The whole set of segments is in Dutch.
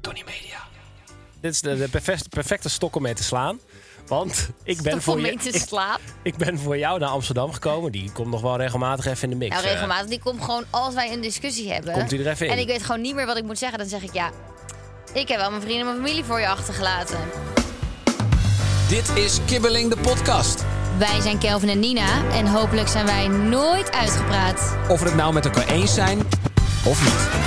Tony Media. Dit is de, de perfect- perfecte stok om mee te slaan. Want ik ben, Stop voor om je, mee te ik, slaap. ik ben voor jou naar Amsterdam gekomen. Die komt nog wel regelmatig even in de mix. Nou, eh. regelmatig. Die komt gewoon als wij een discussie hebben. Komt hij er even in? En ik weet gewoon niet meer wat ik moet zeggen. Dan zeg ik ja. Ik heb al mijn vrienden en mijn familie voor je achtergelaten. Dit is Kibbeling de podcast. Wij zijn Kelvin en Nina. En hopelijk zijn wij nooit uitgepraat. Of we het nou met elkaar eens zijn of niet.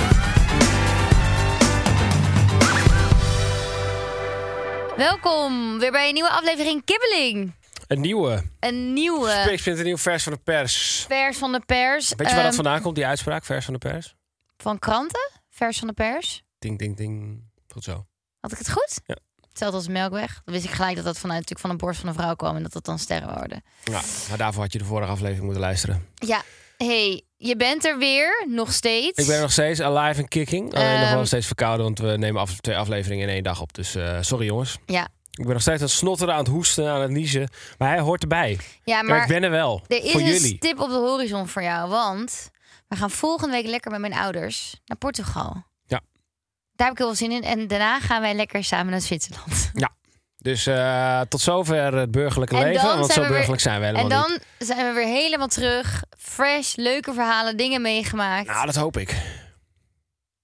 Welkom weer bij een nieuwe aflevering Kibbeling. Een nieuwe. Een nieuwe Ik vind een nieuw vers van de pers. vers van de pers. Weet je waar dat Ehm, vandaan komt, die uitspraak? Vers van de pers? Van kranten? Vers van de pers? Ding, ding, ding. Tot zo. Had ik het goed? Ja. Hetzelfde als Melkweg. Dan wist ik gelijk dat dat vanuit natuurlijk van de borst van een vrouw kwam. En dat dat dan sterren worden. Nou, maar daarvoor had je de vorige aflevering moeten luisteren. Ja. hey, je bent er weer. Nog steeds. Ik ben nog steeds alive en kicking. Alleen nog wel Ehm. steeds verkouden, want we nemen af, twee afleveringen in één dag op. Dus eh, sorry jongens. Ja. Ik ben nog steeds aan het snotteren, aan het hoesten, aan het niezen. Maar hij hoort erbij. Ja, Maar maar... ik ben er wel. Er is voor een jullie. stip op de horizon voor jou, want we gaan volgende week lekker met mijn ouders naar Portugal. Ja. Daar heb ik heel veel zin in. En daarna gaan wij lekker samen naar Zwitserland. Dus eh, tot zover het burgerlijke En leven. dan Want zijn zo we weer- burgerlijk zijn we helemaal en dan niet. zijn we weer helemaal terug. Fresh, leuke verhalen, dingen meegemaakt. Nou, dat hoop ik. Hm. Oké,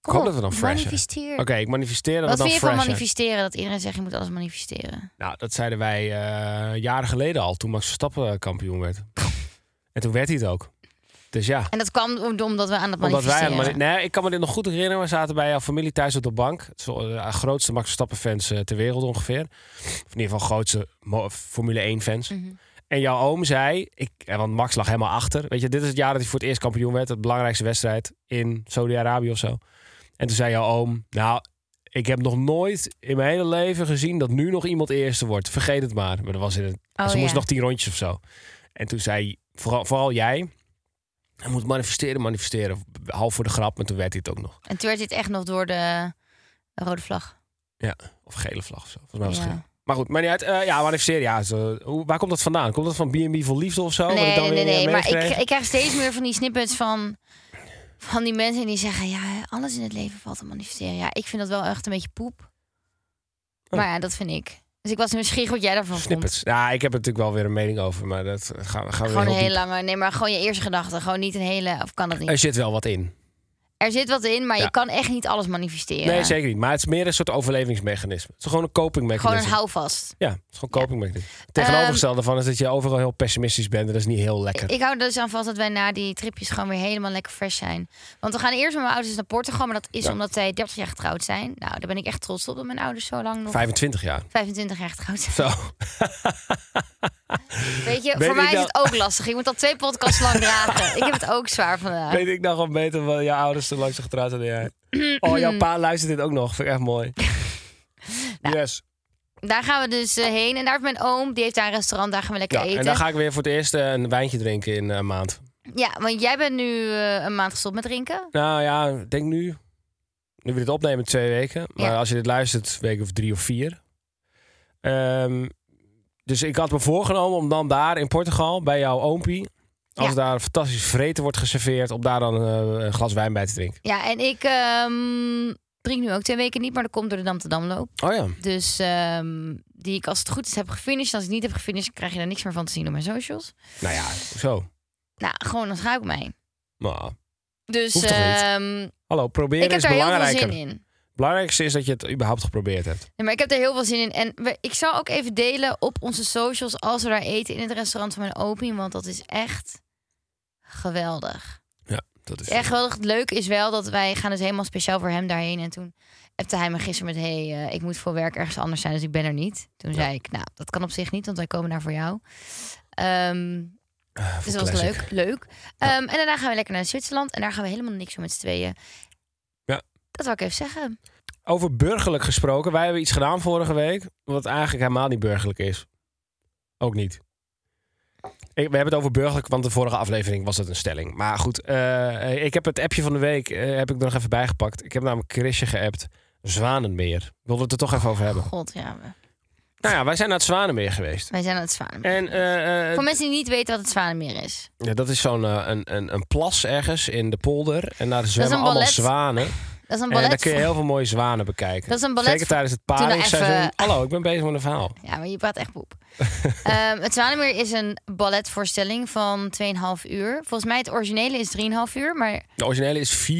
Kom hoop op, dat we dan fresh zijn. Manifesteer. ik manifesteer dat Wat het dan vind je van fresh zijn. manifesteren? Dat iedereen zegt, je moet alles manifesteren. Nou, dat zeiden wij eh, jaren geleden al, toen Max Verstappen kampioen werd. en toen werd hij het ook. Dus ja. En dat kwam om- omdat we aan dat Omdat wij aan manifesteren. het mani- nee, ik kan me dit nog goed herinneren. We zaten bij jouw familie thuis op de bank. Het is wel eh, De grootste Max Verstappen-fans eh, ter wereld ongeveer. Of in ieder geval grootste mo- Formule 1-fans. En jouw oom zei, ik, eh, want Max lag helemaal achter. Weet je, dit is het jaar dat hij voor het eerst kampioen werd. Het belangrijkste wedstrijd in Saudi-Arabië of zo. En toen zei jouw oom, nou, ik heb nog nooit in mijn hele leven gezien dat nu nog iemand eerste wordt. Vergeet het maar. Maar dat was in het, Oh, ze moest ja. nog tien rondjes of zo. En toen zei vooral, vooral jij, hij moet manifesteren, manifesteren. Half voor de grap, maar toen werd hij het ook nog. En toen werd dit echt nog door de rode vlag. Ja, of gele vlag of zo. Volgens mij was het Ja. geel. Maar goed, maar niet uit. Eh, ja, manifesteren. Ja, zo, hoe, waar komt dat vandaan? Komt dat van B&B voor Liefde of zo? Wat ik Nee, dan nee, weer, nee, eh, maar ik, meegekregen? ik krijg steeds meer van die snippets van, van die mensen die zeggen: Ja, alles in het leven valt te manifesteren. Ja, ik vind dat wel echt een beetje poep. Oh. Maar ja, dat vind ik. Dus ik was nieuwsgierig wat jij daarvan Snippets. Ja, ik heb er natuurlijk wel weer een mening over, maar dat gaan, we- gaan vond. we Gewoon een heel hele diep. lange. Nee, maar gewoon je eerste gedachte. Gewoon niet een hele. Of kan dat niet? Er zit wel wat in. Er zit wat in, maar Ja. je kan echt niet alles manifesteren. Nee, zeker niet. Maar het is meer een soort overlevingsmechanisme. Het is gewoon een Gewoon copingmechanisme. een houvast. Ja, het is gewoon een copingmechanisme. Het Tegenovergestelde van is dat je overal heel pessimistisch bent. En dat is niet heel lekker. Ehm, Ik hou er dus aan vast dat wij na die tripjes gewoon weer helemaal lekker fresh zijn. Want we gaan eerst met mijn ouders naar Portugal. Maar dat is omdat zij 30 jaar getrouwd zijn. Nou, daar ben ik echt trots op dat mijn ouders zo lang nog 25 jaar. 25 jaar getrouwd zijn. Zo. Weet je, Weet voor mij ik is nou- het ook lastig. Ik moet al twee podcasts lang dragen. Ik heb het ook zwaar vandaag. Weet ik nou gewoon beter wat jouw ouders zo lang zijn getrouwd zijn dan jij. Oh, jouw pa luistert dit ook nog. Vind ik echt mooi. Nou, yes. Daar gaan we dus eh, heen. En daar heeft mijn oom, die heeft daar een restaurant. Daar gaan we lekker Ja, eten. en dan ga ik weer voor het eerst eh, een wijntje drinken in eh, een maand. Ja, want jij bent nu eh, een maand gestopt met drinken. Nou ja, ik denk nu. Nu we dit opnemen, twee weken. Maar Ja. als je dit luistert, week of drie of vier. Ehm, dus ik had me voorgenomen om dan daar in Portugal bij jouw oompie... als Ja. daar fantastisch vreten wordt geserveerd... om daar dan eh, een glas wijn bij te drinken. Ja, en ik ehm, drink nu ook twee weken niet. Maar dat komt door de Amsterdamloop. Oh ja. Dus ehm, die ik als het goed is heb gefinished. Als ik niet heb gefinished, krijg je daar niks meer van te zien op mijn socials. Nou ja, zo. Nou, gewoon dan schuik ik mij. Nou, Dus Hoeft toch niet? ehm, hallo, proberen ik heb is daar heel veel belangrijker. zin in. Het belangrijkste is dat je het überhaupt geprobeerd hebt. Nee, maar ik heb er heel veel zin in. En we- ik zal ook even delen op onze socials als we daar eten in het restaurant van mijn opie. Want dat is echt geweldig. Ja, dat is... Echt geweldig. Het leuke is wel dat wij gaan dus helemaal speciaal voor hem daarheen. En toen appte hij me gisteren met... hey, eh, ik moet voor werk ergens anders zijn, dus ik ben er niet. Toen zei ik, nou, dat kan op zich niet, want wij komen daar voor jou. Ehm, Dus dat was eh, classic. leuk. leuk. Ehm, en daarna gaan we lekker naar Zwitserland. En daar gaan we helemaal niks doen met z'n tweeën. Ja. Dat wil ik even zeggen. Over burgerlijk gesproken. Wij hebben iets gedaan vorige week. Wat eigenlijk helemaal niet burgerlijk is. Ook niet. Ik, we hebben het over burgerlijk, want de vorige aflevering was het een stelling. Maar goed, eh, ik heb het appje van de week eh, heb ik er nog even bijgepakt. Ik heb namelijk Chrisje geappt. Zwanenmeer. Ik wilde het er toch even over hebben. God, ja. we- Nou ja, wij zijn naar het Zwanenmeer geweest. Wij zijn aan het Zwanenmeer. En eh, eh, Voor mensen die niet weten wat het Zwanenmeer is. ja, dat is zo'n eh, een, een, een plas ergens in de polder. En daar zwemmen een allemaal ballet. zwanen. Dat is een En ballet. daar Eh, kun je heel veel mooie zwanen bekijken. Dat is een ballet Zeker tijdens het nou paringsseizoen. even- Hallo, ik ben bezig met een verhaal. Ja, maar je praat echt poep. Ehm, het Zwanenmeer is een balletvoorstelling van 2,5 uur. Volgens mij het originele is 3,5 uur. Maar, De originele is 4,5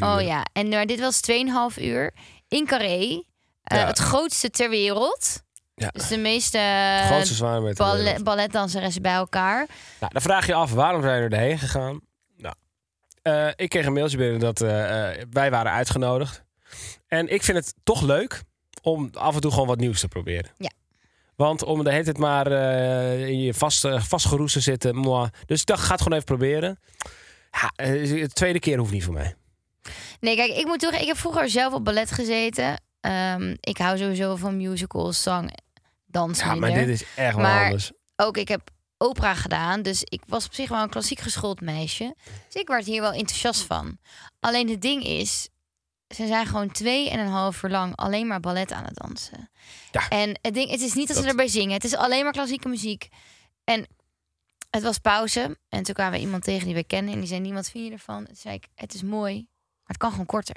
uur. oh ja, en, maar dit was 2,5 uur in Carré. Eh, Ja. Het grootste ter wereld. Ja. Dus de meeste Het grootste zwanen met eh, ballet, balletdanseressen bij elkaar. Nou, dan vraag je je af, waarom zijn we erheen gegaan? Nou, eh, ik kreeg een mailtje binnen dat eh, eh, wij waren uitgenodigd. En ik vind het toch leuk om af en toe gewoon wat nieuws te proberen. Ja. Want om de hele tijd maar eh, in je vast, eh, vastgeroest te zitten. moi. Dus ik dacht, ga het gewoon even proberen. Ja, eh, de tweede keer hoeft niet voor mij. Nee, kijk, ik moet toch. Ik heb vroeger zelf op ballet gezeten. Ehm, ik hou sowieso van musicals, zang, dans. Ja, maar minder. dit is echt wel Maar- anders. Ook ik heb opera gedaan, dus ik was op zich wel een klassiek geschoold meisje. Dus ik werd hier wel enthousiast van. Alleen het ding is, ze zijn gewoon twee en een half uur lang alleen maar ballet aan het dansen. Ja. En het ding, het is niet dat, ze Dat- erbij zingen. Het is alleen maar klassieke muziek. En het was pauze. En toen kwamen we iemand tegen die we kennen. En die zei, niemand vind je ervan? Toen zei ik, het is mooi, maar het kan gewoon korter.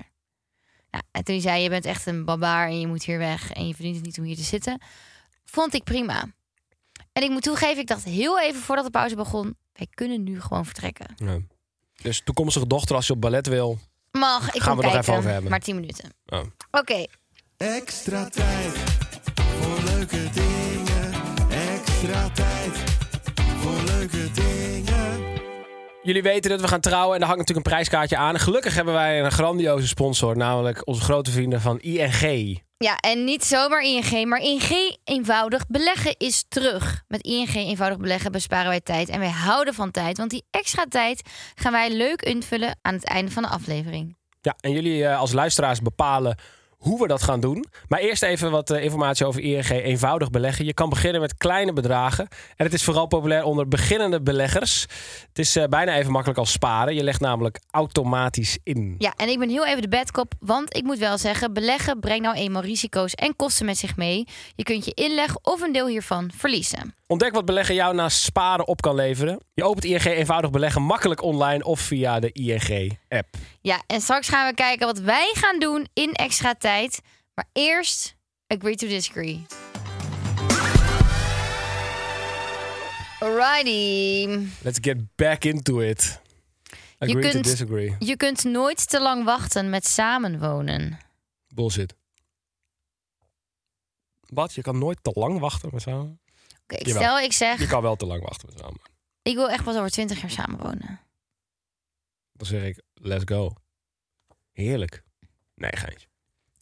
Nou, en toen die zei, je bent echt een barbaar en je moet hier weg. En je verdient het niet om hier te zitten. Vond ik prima. En ik moet toegeven, ik dacht heel even voordat de pauze begon... wij kunnen nu gewoon vertrekken. Ja. Dus toekomstige dochter, als je op ballet wil, Mag, ik Gaan kom we het nog kijken. even over hebben. Maar 10 minuten. Oh. Oké, Extra tijd voor leuke dingen. Extra tijd voor leuke dingen. Jullie weten dat we gaan trouwen en daar hangt natuurlijk een prijskaartje aan. En Gelukkig hebben wij een grandioze sponsor, namelijk onze grote vrienden van ING. ja, en niet zomaar ING, maar ING eenvoudig beleggen is terug. Met ING eenvoudig beleggen besparen wij tijd en wij houden van tijd. Want die extra tijd gaan wij leuk invullen aan het einde van de aflevering. Ja, en jullie eh, als luisteraars bepalen hoe we dat gaan doen. Maar eerst even wat eh, informatie over ING eenvoudig beleggen. Je kan beginnen met kleine bedragen. En het is vooral populair onder beginnende beleggers. Het is eh, bijna even makkelijk als sparen. Je legt namelijk automatisch in. Ja, en ik ben heel even de bedkop, want ik moet wel zeggen... beleggen brengt nou eenmaal risico's en kosten met zich mee. Je kunt je inleg of een deel hiervan verliezen. Ontdek wat beleggen jou naast sparen op kan leveren. Je opent ING eenvoudig beleggen makkelijk online of via de ING-app. Ja, en straks gaan we kijken wat wij gaan doen in extra tijd. Maar eerst, agree to disagree. Alrighty. Let's get back into it. Agree kunt- to disagree. Je kunt nooit te lang wachten met samenwonen. Bullshit. Wat? Je kan nooit te lang wachten met samen? Oké, ik Jawel. stel ik zeg, Je kan wel te lang wachten met samen. ik wil echt pas over 20 jaar samenwonen. Dan zeg ik, let's go. Heerlijk. Nee, geintje.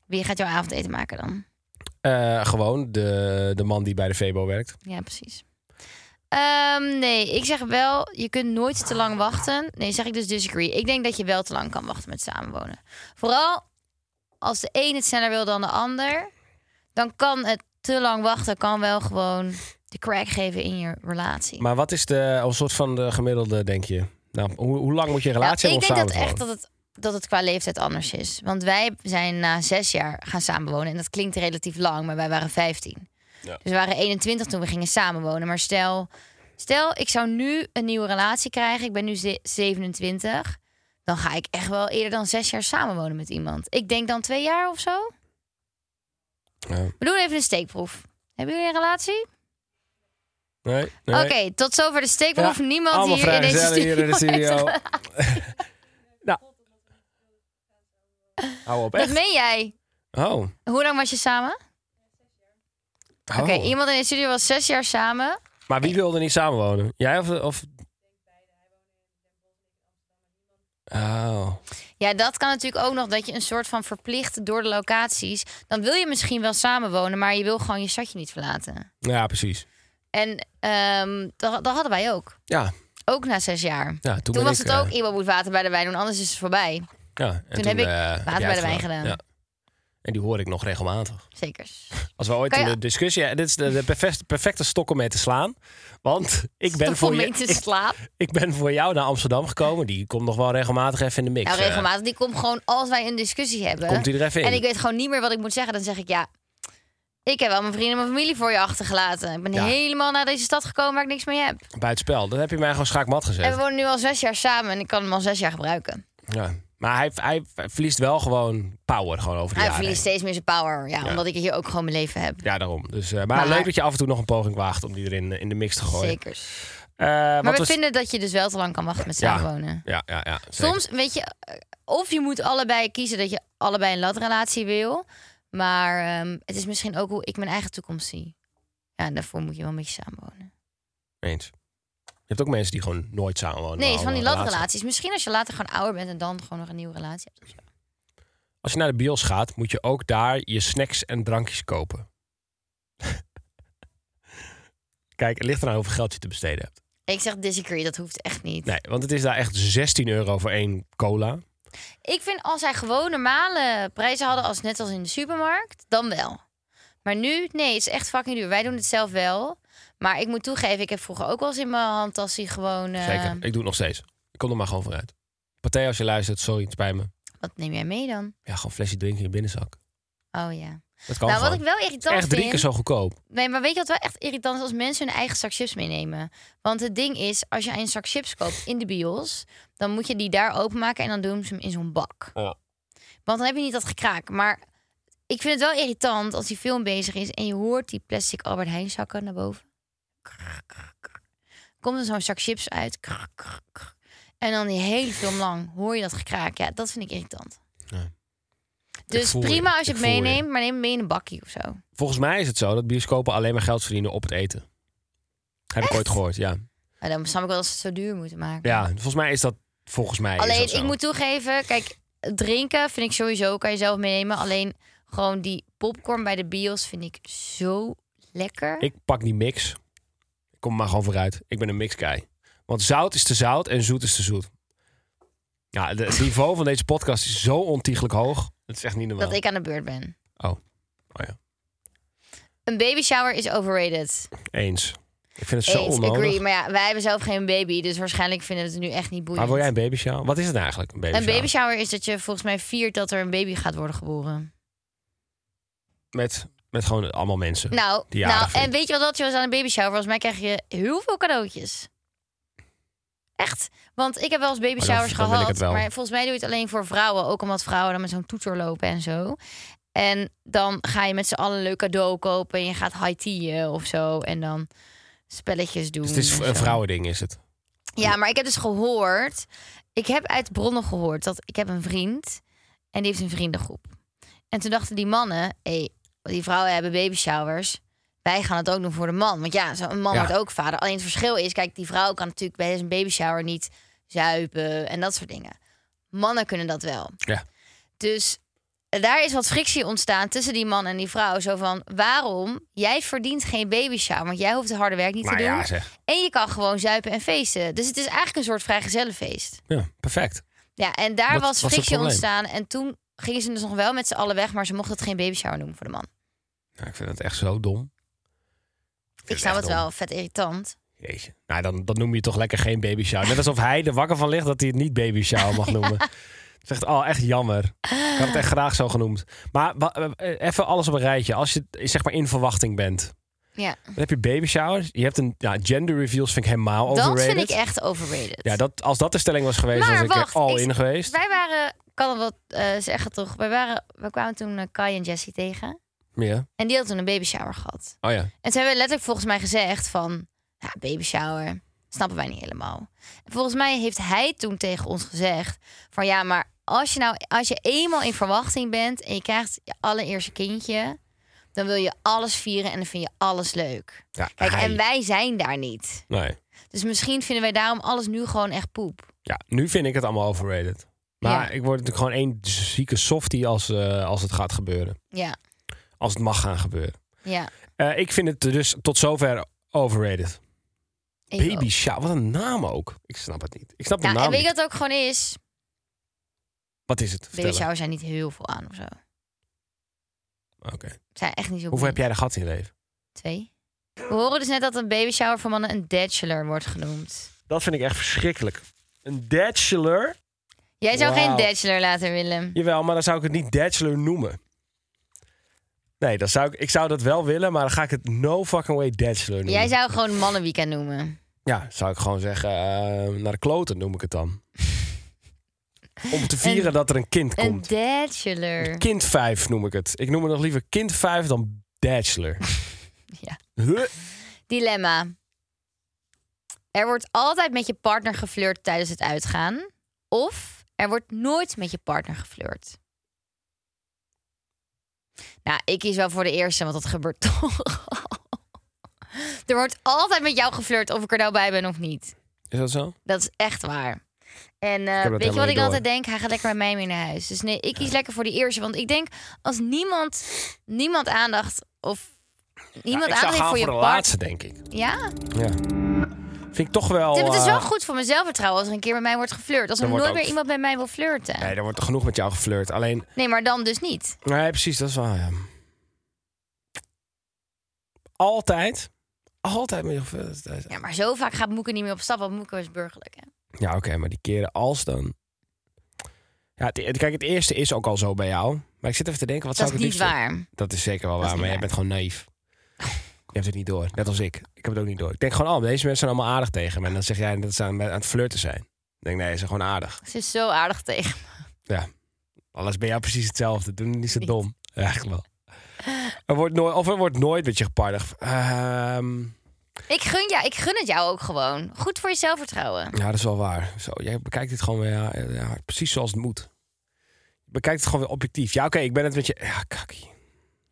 Wie gaat jouw avondeten maken dan? Eh, gewoon de, de man die bij de Febo werkt. Ja, precies. Ehm, nee, ik zeg wel, je kunt nooit te lang wachten. Nee, zeg ik dus disagree. Ik denk dat je wel te lang kan wachten met samenwonen. Vooral als de een het sneller wil dan de ander, dan kan het te lang wachten, kan wel gewoon de crack geven in je relatie. Maar wat is de, een soort van de gemiddelde, denk je? Nou, hoe, hoe lang moet je een relatie Nou, ik denk hebben om dat samen echt te dat het, dat het qua leeftijd anders is. Want wij zijn na zes jaar gaan samenwonen. En dat klinkt relatief lang, maar wij waren 15. Ja. Dus we waren 21 toen we gingen samenwonen. Maar stel, stel, ik zou nu een nieuwe relatie krijgen. Ik ben nu ze- 27. Dan ga ik echt wel eerder dan zes jaar samenwonen met iemand. Ik denk dan twee jaar of zo. wonen? We doen even een steekproef. Hebben jullie een relatie? Ja. Nee, nee. Oké, tot zover de steekproef. Ja, Niemand allemaal hier in deze vrijgezellen studio. hier in de heeft een studio. relatie. nou. Hou op, Dat echt? meen jij. Oh. Hoe lang was je samen? Oh. Oké, iemand in de studio was zes jaar samen. Maar wie wilde niet samenwonen? Jij of... of... Oh. Ja, dat kan natuurlijk ook nog dat je een soort van verplicht door de locaties. Dan wil je misschien wel samenwonen, maar je wil gewoon je stadje niet verlaten. Ja, precies. En ehm, dat, dat hadden wij ook. Ja, Ook na zes jaar. Ja, toen, toen ben was ik, het eh, ook, iemand moet water bij de wijn doen, anders is het voorbij. ja, en toen heb ik eh, water jij bij het de wijn gedaan. Ja. En die hoor ik nog regelmatig. Zeker. Als we ooit Kan in je- de discussie... ja, dit is de, de perfecte, perfecte stok om mee te slaan. Want ik ben, Toch voor om je, mee te ik, slapen. ik ben voor jou naar Amsterdam gekomen. Die komt nog wel regelmatig even in de mix. Nou, eh. regelmatig. Die komt gewoon als wij een discussie hebben. Komt hij er even in? En ik weet gewoon niet meer wat ik moet zeggen. Dan zeg ik ja. Ik heb al mijn vrienden en mijn familie voor je achtergelaten. Ik ben Ja. helemaal naar deze stad gekomen waar ik niks mee heb. Bij het spel. Dan heb je mij gewoon schaakmat gezet. En we wonen nu al zes jaar samen en ik kan hem al zes jaar gebruiken. Ja. Maar hij, hij verliest wel gewoon power gewoon over de Hij jaren verliest heen. steeds meer zijn power. Ja, Omdat ik hier ook gewoon mijn leven heb. Ja, daarom. Dus, eh, maar, Maar- leuk dat je af en toe nog een poging waagt om die erin eh, in de mix te gooien. Zeker. Eh, wat Maar we was- vinden dat je dus wel te lang kan wachten met Ja. samenwonen. Ja, ja, ja. zeker. Soms, weet je, eh, of je moet allebei kiezen dat je allebei een latrelatie wil. Maar ehm, het is misschien ook hoe ik mijn eigen toekomst zie. Ja, en daarvoor moet je wel een beetje samenwonen. Eens. Je hebt ook mensen die gewoon nooit samenwonen. Nee, maar is van die allemaal een relatie. latrelaties. Misschien als je later gewoon ouder bent en dan gewoon nog een nieuwe relatie hebt. of zo. Als je naar de bios gaat, moet je ook daar je snacks en drankjes kopen. Kijk, het ligt eraan hoeveel geld je te besteden hebt. Ik zeg disagree, dat hoeft echt niet. Nee, want het is daar echt 16 euro voor één cola. Ik vind als zij gewoon normale prijzen hadden, als net als in de supermarkt, dan wel. Maar nu, nee, het is echt fucking duur. Wij doen het zelf wel. Maar ik moet toegeven, ik heb vroeger ook wel eens in mijn handtassie gewoon... eh, Zeker, ik doe het nog steeds. Ik kom er maar gewoon vooruit. Partij als je luistert, sorry, het spijt me. Wat neem jij mee dan? Ja, gewoon een flesje drinken in je binnenzak. Oh ja. Dat kan nou, gewoon. wat ik wel irritant echt drie vind... keer zo goedkoop. Nee, maar weet je wat wel echt irritant is als mensen hun eigen zak chips meenemen? Want het ding is, als je een zak chips koopt in de bios, dan moet je die daar openmaken en dan doen ze hem in zo'n bak. Ja. Want dan heb je niet dat gekraak. Maar ik vind het wel irritant als die film bezig is en je hoort die plastic Albert Heijn zakken naar boven. Komt er zo'n zak chips uit. En dan die hele film lang hoor je dat gekraak. Ja, dat vind ik irritant. Ja. Ik Dus voel je. prima als je Ik het voel je. meeneemt, maar neem het mee in een bakkie of zo. Volgens mij is het zo dat bioscopen alleen maar geld verdienen op het eten. Heb ik ooit gehoord, ja. Maar dan snap ik wel dat ze het zo duur moeten maken. Ja, volgens mij is dat... Volgens mij is Alleen, dat zo. ik moet toegeven, kijk, drinken vind ik sowieso, kan je zelf meenemen. Alleen gewoon die popcorn bij de bios vind ik zo lekker. Ik pak die mix. Ik kom er maar gewoon vooruit. Ik ben een mixguy. Want zout is te zout en zoet is te zoet. Ja, de- het niveau van deze podcast is zo ontiegelijk hoog. Dat is echt niet normaal. dat ik aan de beurt ben. Oh, oh ja. Een baby shower is overrated. Eens. Ik vind het zo Eens, onnodig. agree. Maar ja, wij hebben zelf geen baby, dus waarschijnlijk vinden we het nu echt niet boeiend. Maar wil jij een baby shower? Wat is het eigenlijk, een baby een baby shower is dat je volgens mij viert dat er een baby gaat worden geboren. Met, met gewoon allemaal mensen. Nou, Die jarig nou vind. en weet je wat dat je was aan een baby shower? Volgens mij krijg je heel veel cadeautjes. Echt. Want ik heb wel eens baby Maar dan- showers dan wil ik gehad. het wel. Maar volgens mij doe je het alleen voor vrouwen. Ook omdat vrouwen dan met zo'n toeter lopen en zo. En dan ga je met z'n allen een leuk cadeau kopen. En je gaat high teaen of zo. En dan spelletjes doen. Dus het is en een zo. vrouwending, is het. Ja, maar ik heb dus gehoord. Ik heb uit bronnen gehoord dat ik heb een vriend en die heeft een vriendengroep. En toen dachten die mannen, hé, die vrouwen hebben baby showers. Wij gaan het ook doen voor de man. Want ja, zo- een man Ja. wordt ook vader. Alleen het verschil is, kijk, die vrouw kan natuurlijk bij zijn baby shower niet zuipen en dat soort dingen. Mannen kunnen dat wel. Ja. Dus daar is wat frictie ontstaan tussen die man en die vrouw. Zo van, waarom? Jij verdient geen baby shower, want jij hoeft het harde werk niet Maar te doen. ja, zeg. En je kan gewoon zuipen en feesten. Dus het is eigenlijk een soort vrijgezellenfeest. Ja, perfect. Ja, en daar Wat was was het frictie probleem? ontstaan. En toen gingen ze dus nog wel met z'n allen weg, maar ze mochten het geen baby shower noemen voor de man. Nou, ik vind het echt zo dom. vind Ik het snap echt het wel, vet irritant. Jeetje. Nou, dan, dan noem je toch lekker geen baby shower. Net alsof hij er wakker van ligt dat hij het niet baby shower mag noemen. Het is echt, oh, echt jammer. Ik had het echt graag zo genoemd. Maar wa- eh, even alles op een rijtje. Als je eh, zeg maar in verwachting bent. Ja, Dan heb je baby showers. Je hebt een ja, gender reveals vind ik helemaal dat overrated. vind ik echt overrated. Ja, dat, als dat de stelling was geweest, Maar was ik er wacht, al ik- in geweest. Wij waren, kan het wat eh, zeggen toch, wij, waren, wij kwamen toen eh, Kai en Jessie tegen. Ja. En die had toen een baby shower gehad. Oh ja. En toen hebben we letterlijk volgens mij gezegd van... Ja, baby shower, snappen wij niet helemaal. En volgens mij heeft hij toen tegen ons gezegd... van ja, maar als je nou als je eenmaal in verwachting bent... en je krijgt je allereerste kindje... dan wil je alles vieren en dan vind je alles leuk. ja Kijk, hij- en wij zijn daar niet. Nee. Dus misschien vinden wij daarom alles nu gewoon echt poep. Ja, nu vind ik het allemaal overrated. Maar Ja. ik word natuurlijk gewoon één zieke softie als, eh, als het gaat gebeuren. Ja, Als het mag gaan gebeuren. ja. Eh, ik vind het dus tot zover overrated. Ego. Baby shower. Wat een naam ook. Ik snap het niet. Ik snap de Ja, naam Nou, en weet niet. je wat het ook gewoon is? Wat is het? Baby Vertel het. showers zijn niet heel veel aan of zo. Oké. Zijn echt niet zo Hoeveel heb boeiend. jij er gehad in je leven? Twee. We horen dus net dat een baby shower voor mannen een bachelor wordt genoemd. Dat vind ik echt verschrikkelijk. Een bachelor? Jij zou Wauw. geen bachelor laten, Willem. Jawel, maar dan zou ik het niet bachelor noemen. Nee, dan zou ik, ik zou dat wel willen, maar dan ga ik het no fucking way bachelor noemen. Jij zou gewoon mannenweekend noemen. Ja, zou ik gewoon zeggen, eh, naar de kloten noem ik het dan. Om te vieren dat er een kind Een komt. bachelor. Kind 5 noem ik het. Ik noem het nog liever kind 5 dan bachelor. Ja. Huh? Dilemma. Er wordt altijd met je partner geflirt tijdens het uitgaan. Of er wordt nooit met je partner geflirt. Nou, ik kies wel voor de eerste, want dat gebeurt toch. al. er wordt altijd met jou geflirt of ik er nou bij ben of niet. Is dat zo? Dat is echt waar. En dat eh, weet je helemaal wat ik niet door. altijd denk? Hij gaat lekker met mij mee naar huis. Dus nee, ik kies lekker voor die eerste. Want ik denk, als niemand, niemand aandacht of niemand ik zou aandacht heeft gaan voor je de partner... laatste, denk ik. Ja, Ja. Vind ik toch wel... Tim, het is wel eh, goed voor mijn zelfvertrouwen als er een keer met mij wordt geflirt. Als er Er wordt nooit ook- meer iemand met mij wil flirten. Nee, er wordt genoeg met jou geflirt. Alleen, Nee, maar dan dus niet. nee, precies, dat is waar. Ja. Altijd, altijd met je geflirt. Ja, maar zo vaak gaat Moeke niet meer op stap, want Moeke is burgerlijk. Hè? Ja, oké, maar die keren als dan. Ja, het- het- kijk, het eerste is ook al zo bij jou. Maar ik zit even te denken, wat Dat zou is ik het niet liefst doen? waar. Dat is zeker wel is waar, niet maar jij waar. bent gewoon naïef. Je hebt het niet door, net als ik. Ik heb het ook niet door. Ik denk gewoon, oh, deze mensen zijn allemaal aardig tegen me. En dan zeg jij dat ze aan, aan het flirten zijn. Ik denk, nee, ze zijn gewoon aardig. Ze is zo aardig tegen. me. Alles bij jou precies hetzelfde. Doen niet zo dom. Ja, Eigenlijk wel. Er wordt nooit, of er wordt nooit met je Ehm, gepardig. Ik gun, ja, ik gun het jou ook gewoon. Goed voor je zelfvertrouwen. Ja, dat is wel waar. Zo, jij bekijkt het gewoon weer, ja, ja, precies zoals het moet. Je bekijkt het gewoon weer objectief. Ja, oké, ik ben het met je... Ja, kakkie.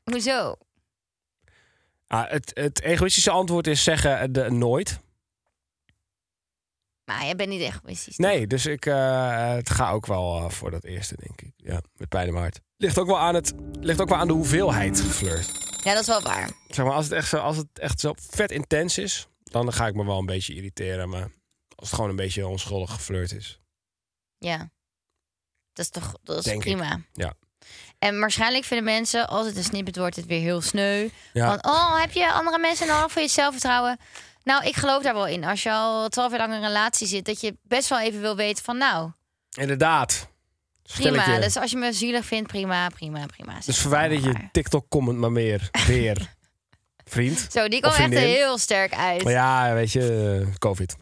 Hoezo? Ah, het, het egoïstische antwoord is zeggen eh, de, nooit. Maar Nou, jij bent niet egoïstisch. toch? Nee, dus ik eh, het ga ook wel eh, voor dat eerste, denk ik. Ja, met pijn in mijn hart. Ligt ook wel aan, het, ligt ook wel aan de hoeveelheid geflirt. Ja, dat is wel waar. Zeg maar, als het, echt zo, als het echt zo vet intens is, dan ga ik me wel een beetje irriteren. Maar als het gewoon een beetje onschuldig geflirt is. Ja. Dat is toch dat is Denk ik. prima. Ja. En waarschijnlijk vinden mensen, als het een snippet wordt, het weer heel sneu. Ja. Want, oh, heb je andere mensen nodig voor je zelfvertrouwen? Nou, ik geloof daar wel in. Als je al twaalf jaar lang in een relatie zit, dat je best wel even wil weten van, nou, Inderdaad. prima. Stelletje. Dus als je me zielig vindt, prima, prima, prima. Zeg Dus het verwijder allemaal je maar. TikTok-comment maar meer. Weer. Vriend. Zo, die of kwam echt vriendin. heel sterk uit. Maar ja, weet je, eh, COVID.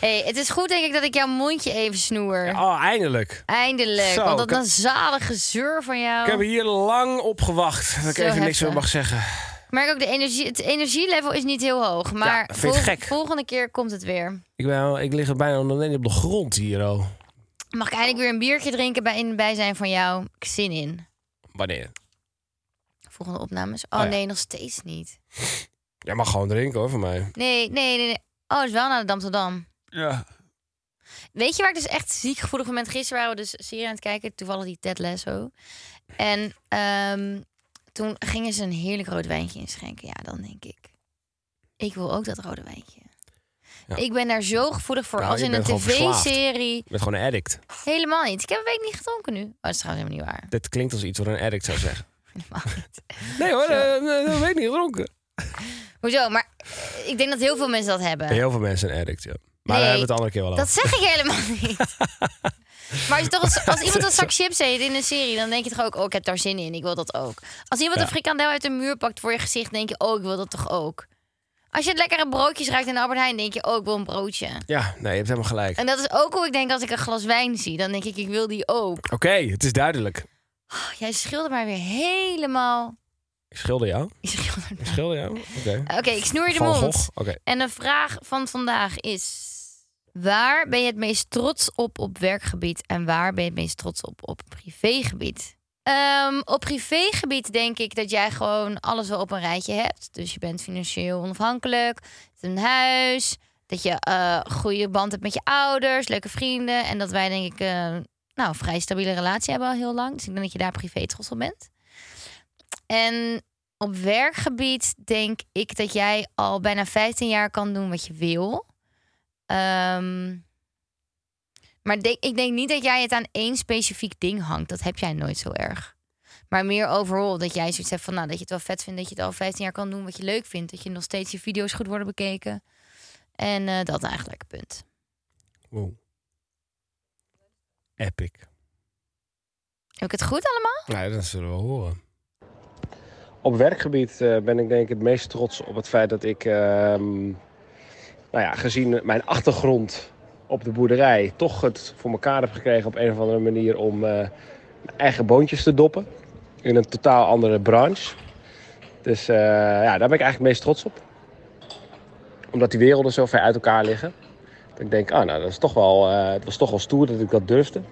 hey, het is goed denk ik dat ik jouw mondje even snoer. Oh, eindelijk. Eindelijk. Zo, want dat ik heb- nazalige gezeur van jou. Ik heb hier lang op gewacht. Dat ik Oh. Zo even niks heftig. meer mag zeggen. Ik merk ook de energie, het energielevel is niet heel hoog. Maar dat vind ik vol- gek. volgende keer komt het weer. Ik, ben, ik lig er bijna alleen op de grond hier. Oh. Mag ik eindelijk weer een biertje drinken bij, in het bijzijn van jou? Ik heb zin in. Wanneer? Volgende opnames. Oh, Oh ja. nee, nog steeds niet. Jij mag gewoon drinken hoor, van mij. Nee, nee, nee. nee. Oh, het is wel naar de Amsterdam. Ja. Weet je waar ik dus echt ziek gevoelig van ben? Gisteren waren we dus een serie aan het kijken. Toevallig die Ted Lasso. En ehm, toen gingen ze een heerlijk rood wijntje inschenken. Ja, dan denk ik. Ik wil ook dat rode wijntje. Ja. Ik ben daar zo gevoelig voor. Nou, als je in een bent gewoon verslaafd. tv-serie... Ik ben gewoon een addict. Helemaal niet. Ik heb een week niet gedronken nu. Oh, dat is trouwens helemaal niet waar. Dit klinkt als iets wat een addict zou zeggen. Helemaal niet. Nee hoor, dat weet ik niet. Dronken. Hoezo? Maar eh, ik denk dat heel veel mensen dat hebben. Heel veel mensen een addict, ja. Maar daar hebben we het andere keer wel over. Dat zeg ik helemaal niet. Maar als, je toch als, als iemand een zak chips eet in een serie, dan denk je toch ook: oh, ik heb daar zin in, ik wil dat ook. Als iemand Ja. een frikandel uit de muur pakt voor je gezicht, denk je: oh, ik wil dat toch ook. Als je lekkere broodjes ruikt in de Albert Heijn, denk je: oh, ik wil een broodje. Ja, nee, je hebt helemaal gelijk. En dat is ook hoe ik denk als ik een glas wijn zie. Dan denk ik: ik wil die ook. Oké, het is duidelijk. Oh, jij schildert maar weer helemaal. Ik schilder jou. Je schildert Ik maar- schilder jou. Oké. Oké, ik snoer je de Van mond. Gogh. Oké. En de vraag van vandaag is: waar ben je het meest trots op op werkgebied en waar ben je het meest trots op op privégebied? Ehm, op privégebied denk ik dat jij gewoon alles wel op een rijtje hebt. Dus je bent financieel onafhankelijk, je hebt een huis, dat je eh goede band hebt met je ouders, leuke vrienden en dat wij denk ik eh, nou een vrij stabiele relatie hebben al heel lang. Dus ik denk dat je daar privé trots op bent. En op werkgebied denk ik dat jij al bijna 15 jaar kan doen wat je wil. Ehm, maar denk- ik denk niet dat jij het aan één specifiek ding hangt. Dat heb jij nooit zo erg. Maar meer overal dat jij zoiets hebt van nou, dat je het wel vet vindt. Dat je het al 15 jaar kan doen wat je leuk vindt. Dat je nog steeds je video's goed worden bekeken. En eh, dat eigenlijk, punt. Wow. Epic. Heb ik het goed allemaal? Nou, dat zullen we wel horen. Op werkgebied eh, ben ik denk ik het meest trots op het feit dat ik, ehm, nou ja, gezien mijn achtergrond op de boerderij, toch het voor elkaar heb gekregen op een of andere manier om eh, mijn eigen boontjes te doppen in een totaal andere branche. Dus eh, ja, daar ben ik eigenlijk het meest trots op. Omdat die werelden zo ver uit elkaar liggen. Dat ik denk, ah, nou, dat is toch wel, eh, het was toch wel stoer dat ik dat durfde.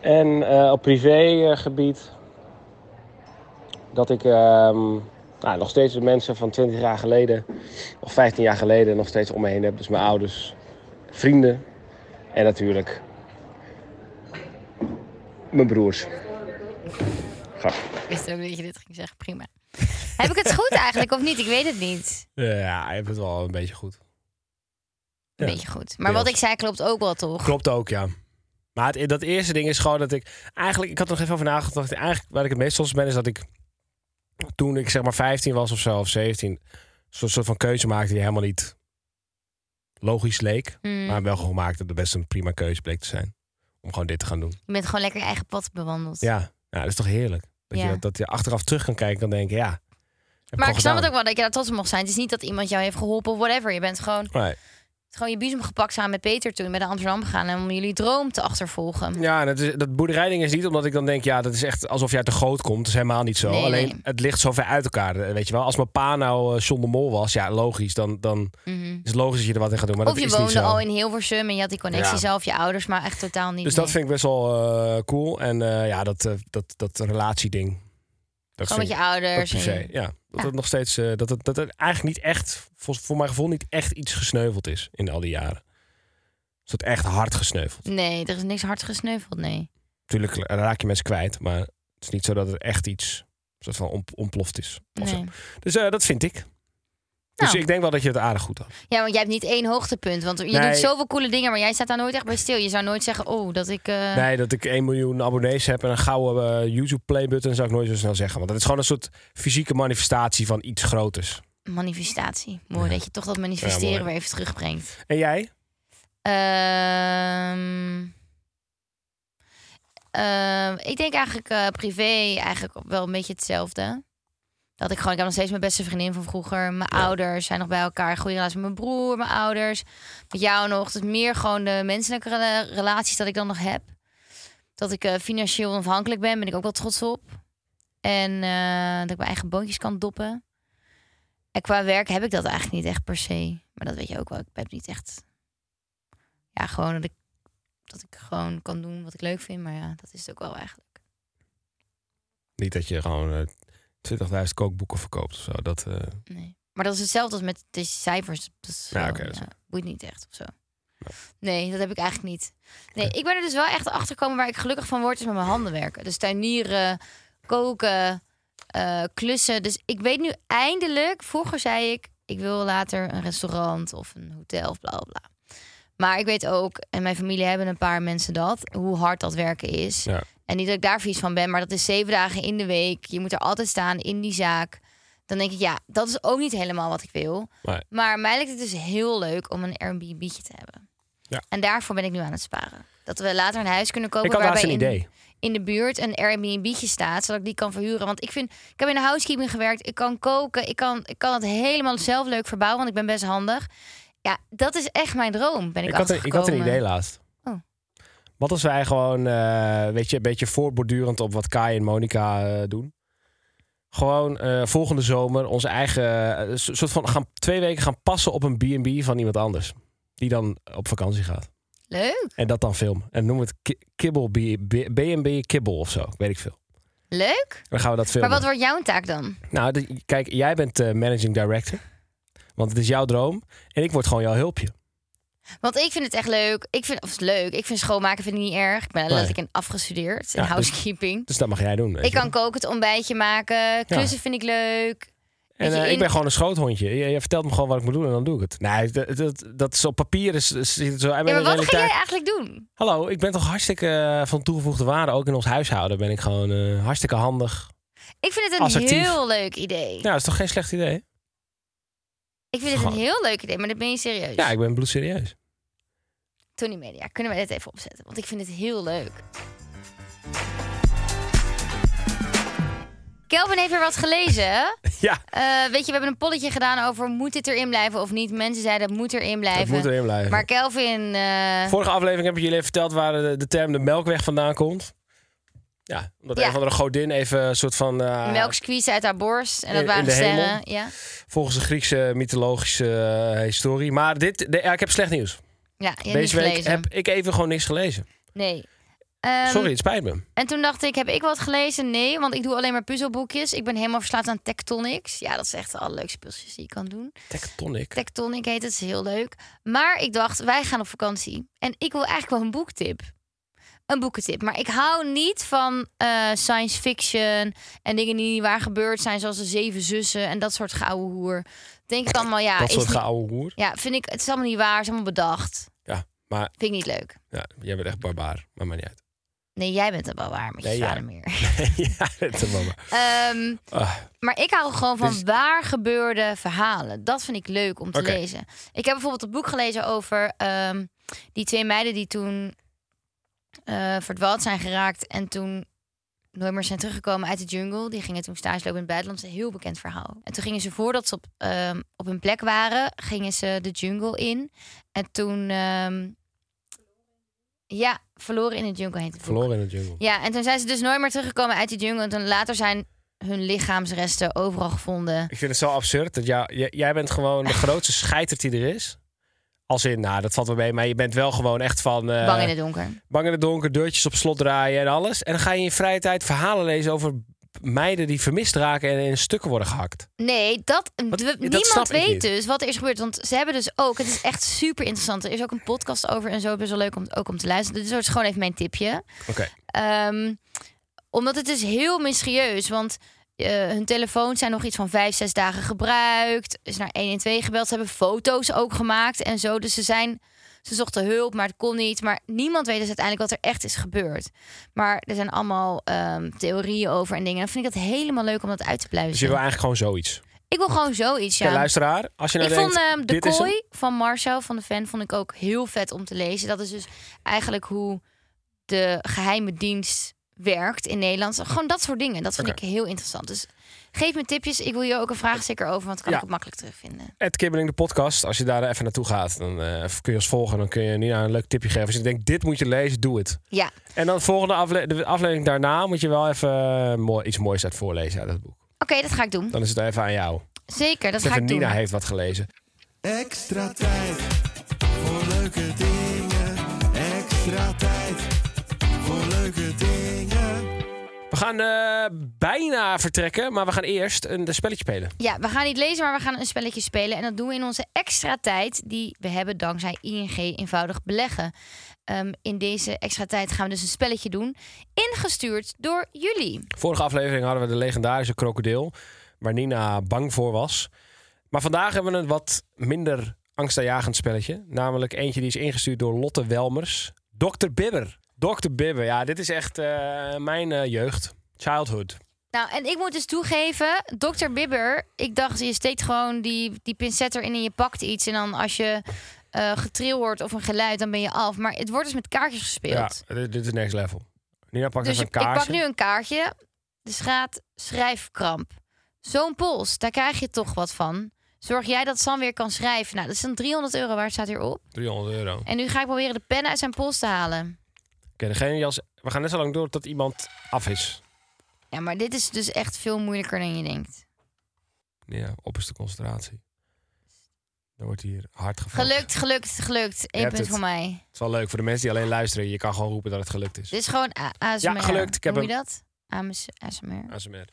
En eh, op privégebied dat ik ehm, nou, nog steeds de mensen van 20 jaar geleden of 15 jaar geleden nog steeds om me heen heb. Dus mijn ouders, vrienden en natuurlijk mijn broers. Graag. Ik wist ook dat je dit ging zeggen. Prima. heb ik het goed eigenlijk of niet? Ik weet het niet. Ja, je hebt het wel een beetje goed. Een Ja. beetje goed. Maar Deels. wat ik zei klopt ook wel, toch? Klopt ook, ja. Maar het- dat eerste ding is gewoon dat ik... Eigenlijk, ik had er nog even over nagedacht. Eigenlijk waar ik het meest trots op ben, is dat ik... Toen ik zeg maar 15 was of zo, of 17... Zo'n soort van keuze maakte die helemaal niet logisch leek. Mm. Maar wel gewoon gemaakt dat het best een prima keuze bleek te zijn. Om gewoon dit te gaan doen. Je bent gewoon lekker je eigen pad bewandeld. Ja, ja dat is toch heerlijk. Dat, Ja. je, dat je achteraf terug kan kijken en kan denken, ja... heb Maar ik gewoon snap gedaan. het ook wel dat je daar trots op mag zijn. Het is niet dat iemand jou heeft geholpen of whatever. Je bent gewoon, Nee. gewoon je bezem gepakt samen met Peter toen met naar Amsterdam gegaan en om jullie droom te achtervolgen. Ja, en dat, is, dat boerderijding is niet omdat ik dan denk, ja, dat is echt alsof jij te groot komt. Dat is helemaal niet zo. Nee, Alleen nee. het ligt zo ver uit elkaar. eh, Weet je wel, als mijn pa nou John de Mol was, ja, logisch. Dan, dan is het logisch dat je er wat in gaat doen. Maar Mhm. of dat je is niet woonde zo. al in Hilversum en je had die connectie Ja. zelf, je ouders, maar echt totaal niet. Dus nee. dat vind ik best wel eh, cool. En eh, ja, dat, eh, dat, dat relatieding. Dat Gewoon vind met ik je dat ouders. per se. en- Ja, dat het nog steeds, eh, dat, het, dat het eigenlijk niet echt, voor, voor mijn gevoel, niet echt iets gesneuveld is in al die jaren. Dus dat echt hard gesneuveld. Nee, er is niks hard gesneuveld, nee. Natuurlijk raak je mensen kwijt, maar het is niet zo dat het echt iets soort van ont- ontploft is. of zo. nee. Dus eh, dat vind ik. Dus Nou. ik denk wel dat je het aardig goed had. Ja, want jij hebt niet één hoogtepunt. Want je Nee. doet zoveel coole dingen, maar jij staat daar nooit echt bij stil. Je zou nooit zeggen, oh, dat ik... eh, Nee, dat ik 1 miljoen abonnees heb en een gouden eh, YouTube playbutton zou ik nooit zo snel zeggen. Want dat is gewoon een soort fysieke manifestatie van iets groters. Manifestatie. Mooi dat je toch dat manifesteren Ja, mooi. weer even terugbrengt. En jij? Ehm, ehm, ik denk eigenlijk eh, privé eigenlijk wel een beetje hetzelfde. Dat ik gewoon, ik heb nog steeds mijn beste vriendin van vroeger. Mijn ouders zijn nog bij elkaar. Goede relatie met mijn broer, mijn ouders. Met jou nog. Dus meer gewoon de menselijke rela- relaties dat ik dan nog heb. Dat ik eh, financieel onafhankelijk ben, ben ik ook wel trots op. En eh, dat ik mijn eigen boontjes kan doppen. En qua werk heb ik dat eigenlijk niet echt per se. Maar dat weet je ook wel. Ik heb niet echt ja, gewoon dat ik, dat ik gewoon kan doen wat ik leuk vind. Maar ja, dat is het ook wel eigenlijk. Niet dat je gewoon eh, 20.000 kookboeken verkoopt of zo. Dat, eh, Nee. Maar dat is hetzelfde als met de cijfers. Dat is Ja, wel, oké, dat is ja, boeit niet echt of zo. Nee, dat heb ik eigenlijk niet. Nee, ik ben er dus wel echt achter gekomen waar ik gelukkig van word, is met mijn handen werken. Dus tuinieren, koken, eh, klussen. Dus ik weet nu eindelijk, vroeger zei ik, ik wil later een restaurant of een hotel of bla bla bla. Maar ik weet ook, en mijn familie hebben een paar mensen dat, hoe hard dat werken is. Ja. En niet dat ik daar vies van ben, maar dat is zeven dagen in de week. Je moet er altijd staan in die zaak. Dan denk ik, ja, dat is ook niet helemaal wat ik wil. maar, Maar mij lijkt het dus heel leuk om een Airbnb'tje te hebben. Ja. En daarvoor ben ik nu aan het sparen. Dat we later een huis kunnen kopen Ik had waarbij laatst een in, idee. in de buurt een Airbnb'tje staat, zodat ik die kan verhuren. Want ik vind, ik heb in de housekeeping gewerkt, ik kan koken, ik kan, ik kan het helemaal zelf leuk verbouwen, want ik ben best handig. Ja, dat is echt mijn droom. Ben ik, ik, had een, ik had een achtergekomen. idee laatst. Oh. Wat als wij gewoon eh, weet je, een beetje voortbordurend op wat Kai en Monica eh, doen? Gewoon eh, volgende zomer onze eigen eh, een soort van gaan, twee weken gaan passen op een B&B van iemand anders. Die dan op vakantie gaat. Leuk, En dat dan filmen. En noem het ki- kibbel, B- B- B&B kibbel of zo. Weet ik veel. leuk. Dan gaan we dat Maar filmen. wat wordt jouw taak dan? Nou, de- kijk, jij bent eh, managing director. Want het is jouw droom. En ik word gewoon jouw hulpje. Want ik vind het echt leuk. Ik vind, of het is leuk. Ik vind schoonmaken vind ik niet erg. Ik ben er Nee. letterlijk in afgestudeerd. Ja, In dus- housekeeping. Dus dat mag jij doen. weet ik je. kan koken, het ontbijtje maken. Klussen vind ik leuk. En Weet je, eh, in- ik ben gewoon een schoothondje. Je, je vertelt me gewoon wat ik moet doen en dan doe ik het. Nee, dat, dat, dat is op papier is, is- ziet het zo. uit, Ja, maar maar in de wat ga jij realiteit- eigenlijk doen? Hallo, ik ben toch hartstikke eh, van toegevoegde waarde. Ook in ons huishouden ben ik gewoon eh, hartstikke handig. Ik vind het een Assertief. heel leuk idee. Ja, dat is toch geen slecht idee? Ik vind het een Gewoon. heel leuk idee, maar dat ben je serieus. Ja, ik ben bloedserieus. Tony Media, kunnen wij dit even opzetten? Want ik vind het heel leuk. Kelvin heeft weer wat gelezen. Ja, Eh, weet je, we hebben een polletje gedaan over moet dit erin blijven of niet. Mensen zeiden het moet erin dat blijven. moet erin blijven. Maar Kelvin, eh, Vorige aflevering heb ik jullie even verteld waar de, de term de melkweg vandaan komt. Ja, omdat Ja. een van de godin even een soort van... eh, melk squeeze uit haar borst. En dat in- waren in de hemel. sterren. Ja. Volgens de Griekse mythologische eh, historie. Maar dit, de, ja, ik heb slecht nieuws. Ja, je hebt niet Deze week gelezen. heb ik even gewoon niks gelezen. Nee. Ehm, Sorry, het spijt me. En toen dacht ik, heb ik wat gelezen? Nee, want ik doe alleen maar puzzelboekjes. Ik ben helemaal verslaafd aan Tectonics. Ja, dat is echt de allerleukste pilsjes die je kan doen. Tectonic. Tectonic heet het, is heel leuk. Maar ik dacht, wij gaan op vakantie. En ik wil eigenlijk wel een boektip. Een boekentip. Maar ik hou niet van eh, science fiction en dingen die niet waar gebeurd zijn, zoals de Zeven Zussen en dat soort gouden hoer. Denk ik allemaal, ja, dat is soort niet- gouden hoer. ja, vind ik, het is allemaal niet waar, het is allemaal bedacht. Ja, maar Vind ik niet leuk. ja, jij bent echt barbaar. Maar maakt niet uit. Nee, jij bent het wel waar met je Nee, ja. vader meer. ja, het is wel waar. Ehm, Ah. maar ik hou gewoon van Dus- waar gebeurde verhalen. Dat vind ik leuk om te Oké. lezen. Ik heb bijvoorbeeld een boek gelezen over ehm, die twee meiden die toen eh, verdwaald zijn geraakt en toen nooit meer zijn teruggekomen uit de jungle. Die gingen toen stage lopen in het buitenland. Dat is een heel bekend verhaal. En toen gingen ze voordat ze op, ehm, op hun plek waren, gingen ze de jungle in. En toen, ehm, ja, verloren in de jungle heet het boek. Verloren in de jungle. Ja, en toen zijn ze dus nooit meer teruggekomen uit die jungle. En toen later zijn hun lichaamsresten overal gevonden. Ik vind het zo absurd dat jou, j- jij bent gewoon de grootste scheiter die er is. Als in, nou, dat valt wel mee, maar je bent wel gewoon echt van... eh, Bang in het donker. bang in het donker, deurtjes op slot draaien en alles. En dan ga je in je vrije tijd verhalen lezen over meiden die vermist raken en in stukken worden gehakt. Nee, dat, we- dat snap niemand ik niet. weet dus wat er is gebeurd. Want ze hebben dus ook, het is echt super interessant. Er is ook een podcast over en zo, best wel leuk om, ook om te luisteren. Dit is dus gewoon even mijn tipje. Oké. Ehm, omdat het is heel mysterieus, want eh, hun telefoons zijn nog iets van vijf, zes dagen gebruikt. Is naar 112 gebeld, ze hebben foto's ook gemaakt en zo. Dus ze zijn, ze zochten hulp, maar het kon niet. Maar niemand weet dus uiteindelijk wat er echt is gebeurd. Maar er zijn allemaal ehm, theorieën over en dingen. En dan vind ik dat helemaal leuk om dat uit te Dus je pluizen. wil eigenlijk gewoon zoiets. Ik wil gewoon zoiets, Kijk, ja. luisteraar, als je nou Ik denkt, vond ehm, De dit is hem. Kooi van Marcel, van de fan, vond ik ook heel vet om te lezen. Dat is dus eigenlijk hoe de geheime dienst werkt in Nederland. Gewoon dat soort dingen. Dat vind Oké. ik heel interessant. Dus geef me tipjes. Ik wil je ook een vraagsticker over, want dan kan Ja. ik het makkelijk terugvinden. Het Kibbeling de podcast, als je daar even naartoe gaat, dan eh, kun je ons volgen. Dan kun je Nina een leuk tipje geven. Als je denkt, dit moet je lezen, doe het. Ja, oké, En dan de volgende afle- de aflevering daarna moet je wel even eh, mooi, iets moois uit voorlezen uit dat boek. dat ga ik doen. Dan is het even aan jou. Zeker, dat Dus ga even ik doen. Nina heeft wat gelezen. Extra tijd voor leuke dingen. Extra tijd voor leuke dingen. We gaan eh, bijna vertrekken, maar we gaan eerst een spelletje spelen. Ja, we gaan niet lezen, maar we gaan een spelletje spelen. En dat doen we in onze extra tijd die we hebben dankzij ING Eenvoudig Beleggen. Ehm, in deze extra tijd gaan we dus een spelletje doen, ingestuurd door jullie. Vorige aflevering hadden we de legendarische krokodil, waar Nina bang voor was. Maar vandaag hebben we een wat minder angstaanjagend spelletje. Namelijk eentje die is ingestuurd door Lotte Welmers. Dr. Bibber. Dr. Bibber, ja, dit is echt eh, mijn eh, jeugd. Childhood. Nou, en ik moet dus toegeven, Dr. Bibber, ik dacht, je steekt gewoon die, die pincet erin en je pakt iets. En dan als je eh getril hoort of een geluid, dan ben je af. Maar het wordt dus met kaartjes Ja, gespeeld. dit, dit is next level. Nina pakt dus even een ik pak kaartje. nu een kaartje. Dus gaat schrijfkramp. Zo'n pols, daar krijg je toch wat van. Zorg jij dat Sam weer kan schrijven. Nou, dat is dan 300 euro waard, staat hier op. 300 euro. Oké, En nu ga ik proberen de pen uit zijn pols te halen. degene die als... We gaan net zo lang door tot iemand af is. Ja, maar dit is dus echt veel moeilijker dan je denkt. Ja, opperste concentratie. Dan wordt hier hard gevallen. Gelukt, gelukt, gelukt. Eén hebt punt het. voor mij. Het is wel leuk voor de mensen die alleen luisteren. Je kan gewoon roepen dat het gelukt is. Dit is gewoon A- ASMR. Ja, gelukt. Ik heb Noem je hem. dat? AMS ASMR. ASMR.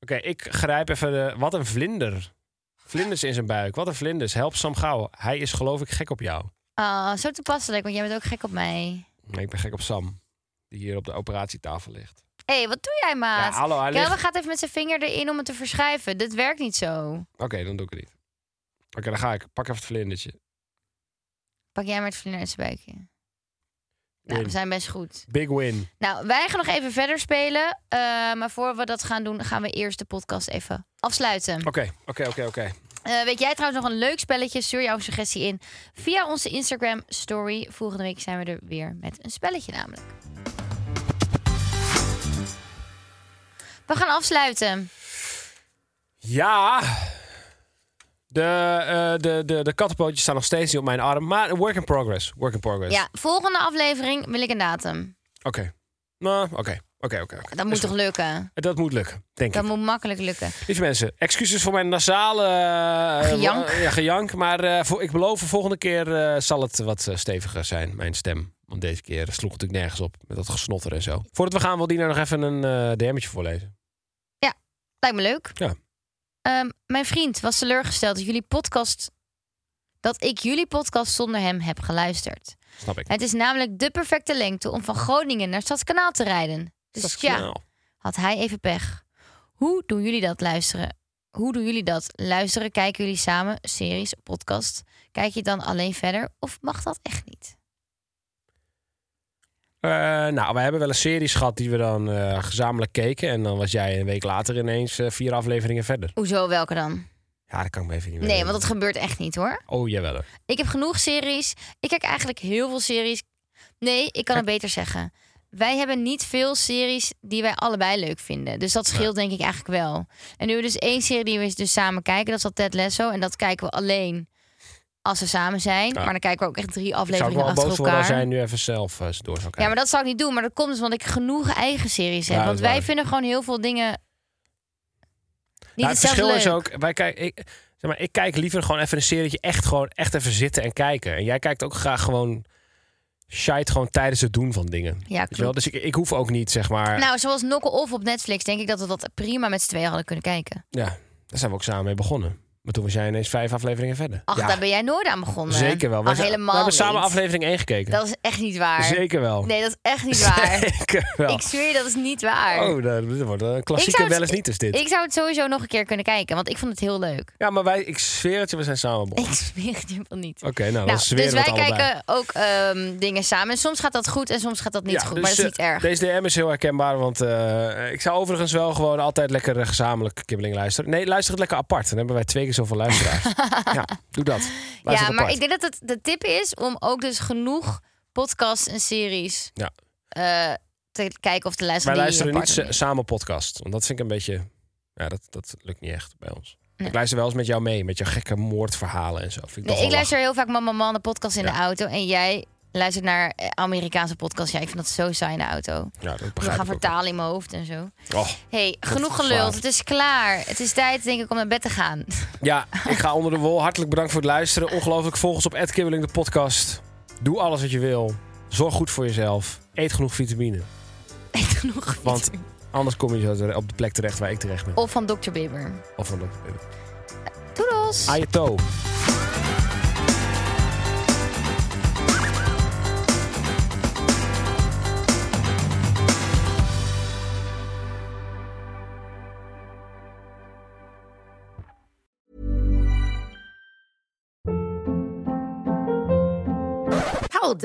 Oké, ik grijp even de... Wat een vlinder. Vlinders in zijn buik. Wat een vlinders. Help Sam gauw. Hij is geloof ik gek op jou. Ah, zo toepasselijk, want jij bent ook gek op mij. Nee, ik ben gek op Sam, die hier op de operatietafel ligt. Hé, hey, wat doe jij, Ja, maat? hallo, hij Kelvin ligt... gaat even met zijn vinger erin om het te verschuiven. Dit werkt niet zo. Oké, dan doe ik het niet. Oké, dan ga ik. Pak even het vlindertje. Pak jij maar het vlinder uit zijn buikje. Nou, Win. we zijn best goed. Big win. Nou, wij gaan nog even verder spelen. eh, maar voor we dat gaan doen, gaan we eerst de podcast even afsluiten. Oké, oké, oké, oké. Eh, weet jij trouwens nog een leuk spelletje? Stuur jouw suggestie in via onze Instagram story. Volgende week zijn we er weer met een spelletje namelijk. We gaan afsluiten. Ja. De, eh, de, de, de kattenpootjes staan nog steeds niet op mijn arm. Maar work in progress. Work in progress. Ja, volgende aflevering wil ik een datum. Oké. Nou, oké. Oké, oké. oké. Dat moet toch lukken? Dat moet lukken, denk Dat ik. moet makkelijk lukken. Lieve mensen, excuses voor mijn nasale... eh, Gejank. eh, ja, gejank. Maar eh, voor, ik beloof, de volgende keer eh, zal het wat eh, steviger zijn, mijn stem. Want deze keer sloeg het natuurlijk nergens op met dat gesnotter en zo. Voordat we gaan, wil Dina nog even een eh DM'tje voorlezen. Lijkt me leuk. Ja. Ehm, mijn vriend was teleurgesteld dat jullie podcast. Dat ik jullie podcast zonder hem heb geluisterd. Snap ik. Het is namelijk de perfecte lengte om van Groningen naar Stadskanaal te rijden. Dus ja, Nou, had hij even pech. Hoe doen jullie dat luisteren? Hoe doen jullie dat? Luisteren, kijken jullie samen series, podcast? Kijk je dan alleen verder of mag dat echt niet? Eh, nou, we hebben wel een series gehad die we dan eh, gezamenlijk keken. En dan was jij een week later ineens eh, vier afleveringen verder. Hoezo, welke dan? Ja, dat kan ik me even niet meer Nee, want dat herinneren. gebeurt echt niet hoor. Oh, jawel. hoor. Ik heb genoeg series. Ik kijk eigenlijk heel veel series. Nee, ik kan het beter zeggen. Wij hebben niet veel series die wij allebei leuk vinden. Dus dat scheelt denk ik eigenlijk wel. En nu hebben we dus één serie die we dus samen kijken. Dat is al Ted Lasso. En dat kijken we alleen als we samen zijn. Maar dan kijken we ook echt drie Ik zou ook afleveringen wel achter boos worden elkaar. als jij nu even zelf eh, door zou kijken. Ja, maar dat zou ik niet doen. Maar dat komt dus omdat ik genoeg eigen series heb. Ja, dat Want is wij waar. vinden gewoon heel veel dingen... Niet Nou, het hetzelfde verschil is leuk. ook, wij kijk, ik, zeg maar, ik kijk liever gewoon even een serietje echt gewoon echt even zitten en kijken. En jij kijkt ook graag gewoon shite gewoon tijdens het doen van dingen. Weet Ja, je wel? klopt. Dus ik, ik hoef ook niet, zeg maar. Nou, zoals Knokken Off op Netflix denk ik dat we dat prima met z'n tweeën hadden kunnen kijken. Ja, daar zijn we ook samen mee begonnen. Maar toen was jij ineens vijf afleveringen verder. Ach, ja, daar ben jij nooit aan begonnen. zeker wel. We, Ach, zijn- helemaal we hebben niet. samen aflevering 1 gekeken. Dat is echt niet waar. zeker wel. Nee, dat is echt niet waar. Zeker wel. Ik zweer je, dat is niet waar. oh, nou, dit wordt een klassieke zou het- wel eens niet is dit. Ik zou het sowieso nog een keer kunnen kijken, want ik vond het heel leuk. ja, maar wij, ik zweer het je, we zijn samen begonnen. Ik zweer het je van niet. Oké, nou, dan nou, zweren dus we wij het allebei. kijken ook ehm, dingen samen. En soms gaat dat goed en soms gaat dat niet Ja, goed. dus, maar dat is niet eh, erg. Deze DM is heel herkenbaar, want eh, ik zou overigens wel gewoon altijd lekker eh, gezamenlijk kibbeling luisteren. Nee, luister het lekker apart. Dan hebben wij twee keer zoveel luisteraars. ja, doe dat. Luister het ja, maar apart. ik denk dat het de tip is om ook dus genoeg podcasts en series Ja. eh, te kijken of te luisteren. Wij die luisteren niet apart sa- doen. samen podcast, want dat vind ik een beetje... Ja, dat, dat lukt niet echt bij ons. Nee. Ik luister wel eens met jou mee, met jouw gekke moordverhalen en zo. Vind ik toch Nee, wel ik luister heel vaak Mama Man, de podcast in Ja. de auto. En jij luistert naar eh, Amerikaanse podcasts. Ja, ik vind dat zo saai in de auto. lachen. Ja, dat We begrijp gaan ik ook Oh. vertalen in mijn hoofd en zo. wel. Och, hey, genoeg is geluld. waar. Het is klaar. Het is tijd, denk ik, om naar bed te gaan. Ja, ik ga onder de wol. Hartelijk bedankt voor het luisteren. Ongelooflijk, volg ons op Ed Kibbeling, de podcast. Doe alles wat je wil. Zorg goed voor jezelf. Eet genoeg vitamine. Eet genoeg. Want anders kom je zo op de plek terecht waar ik terecht ben. Of van Dr. Bibber. Of van de Doedels! Ayato. Hold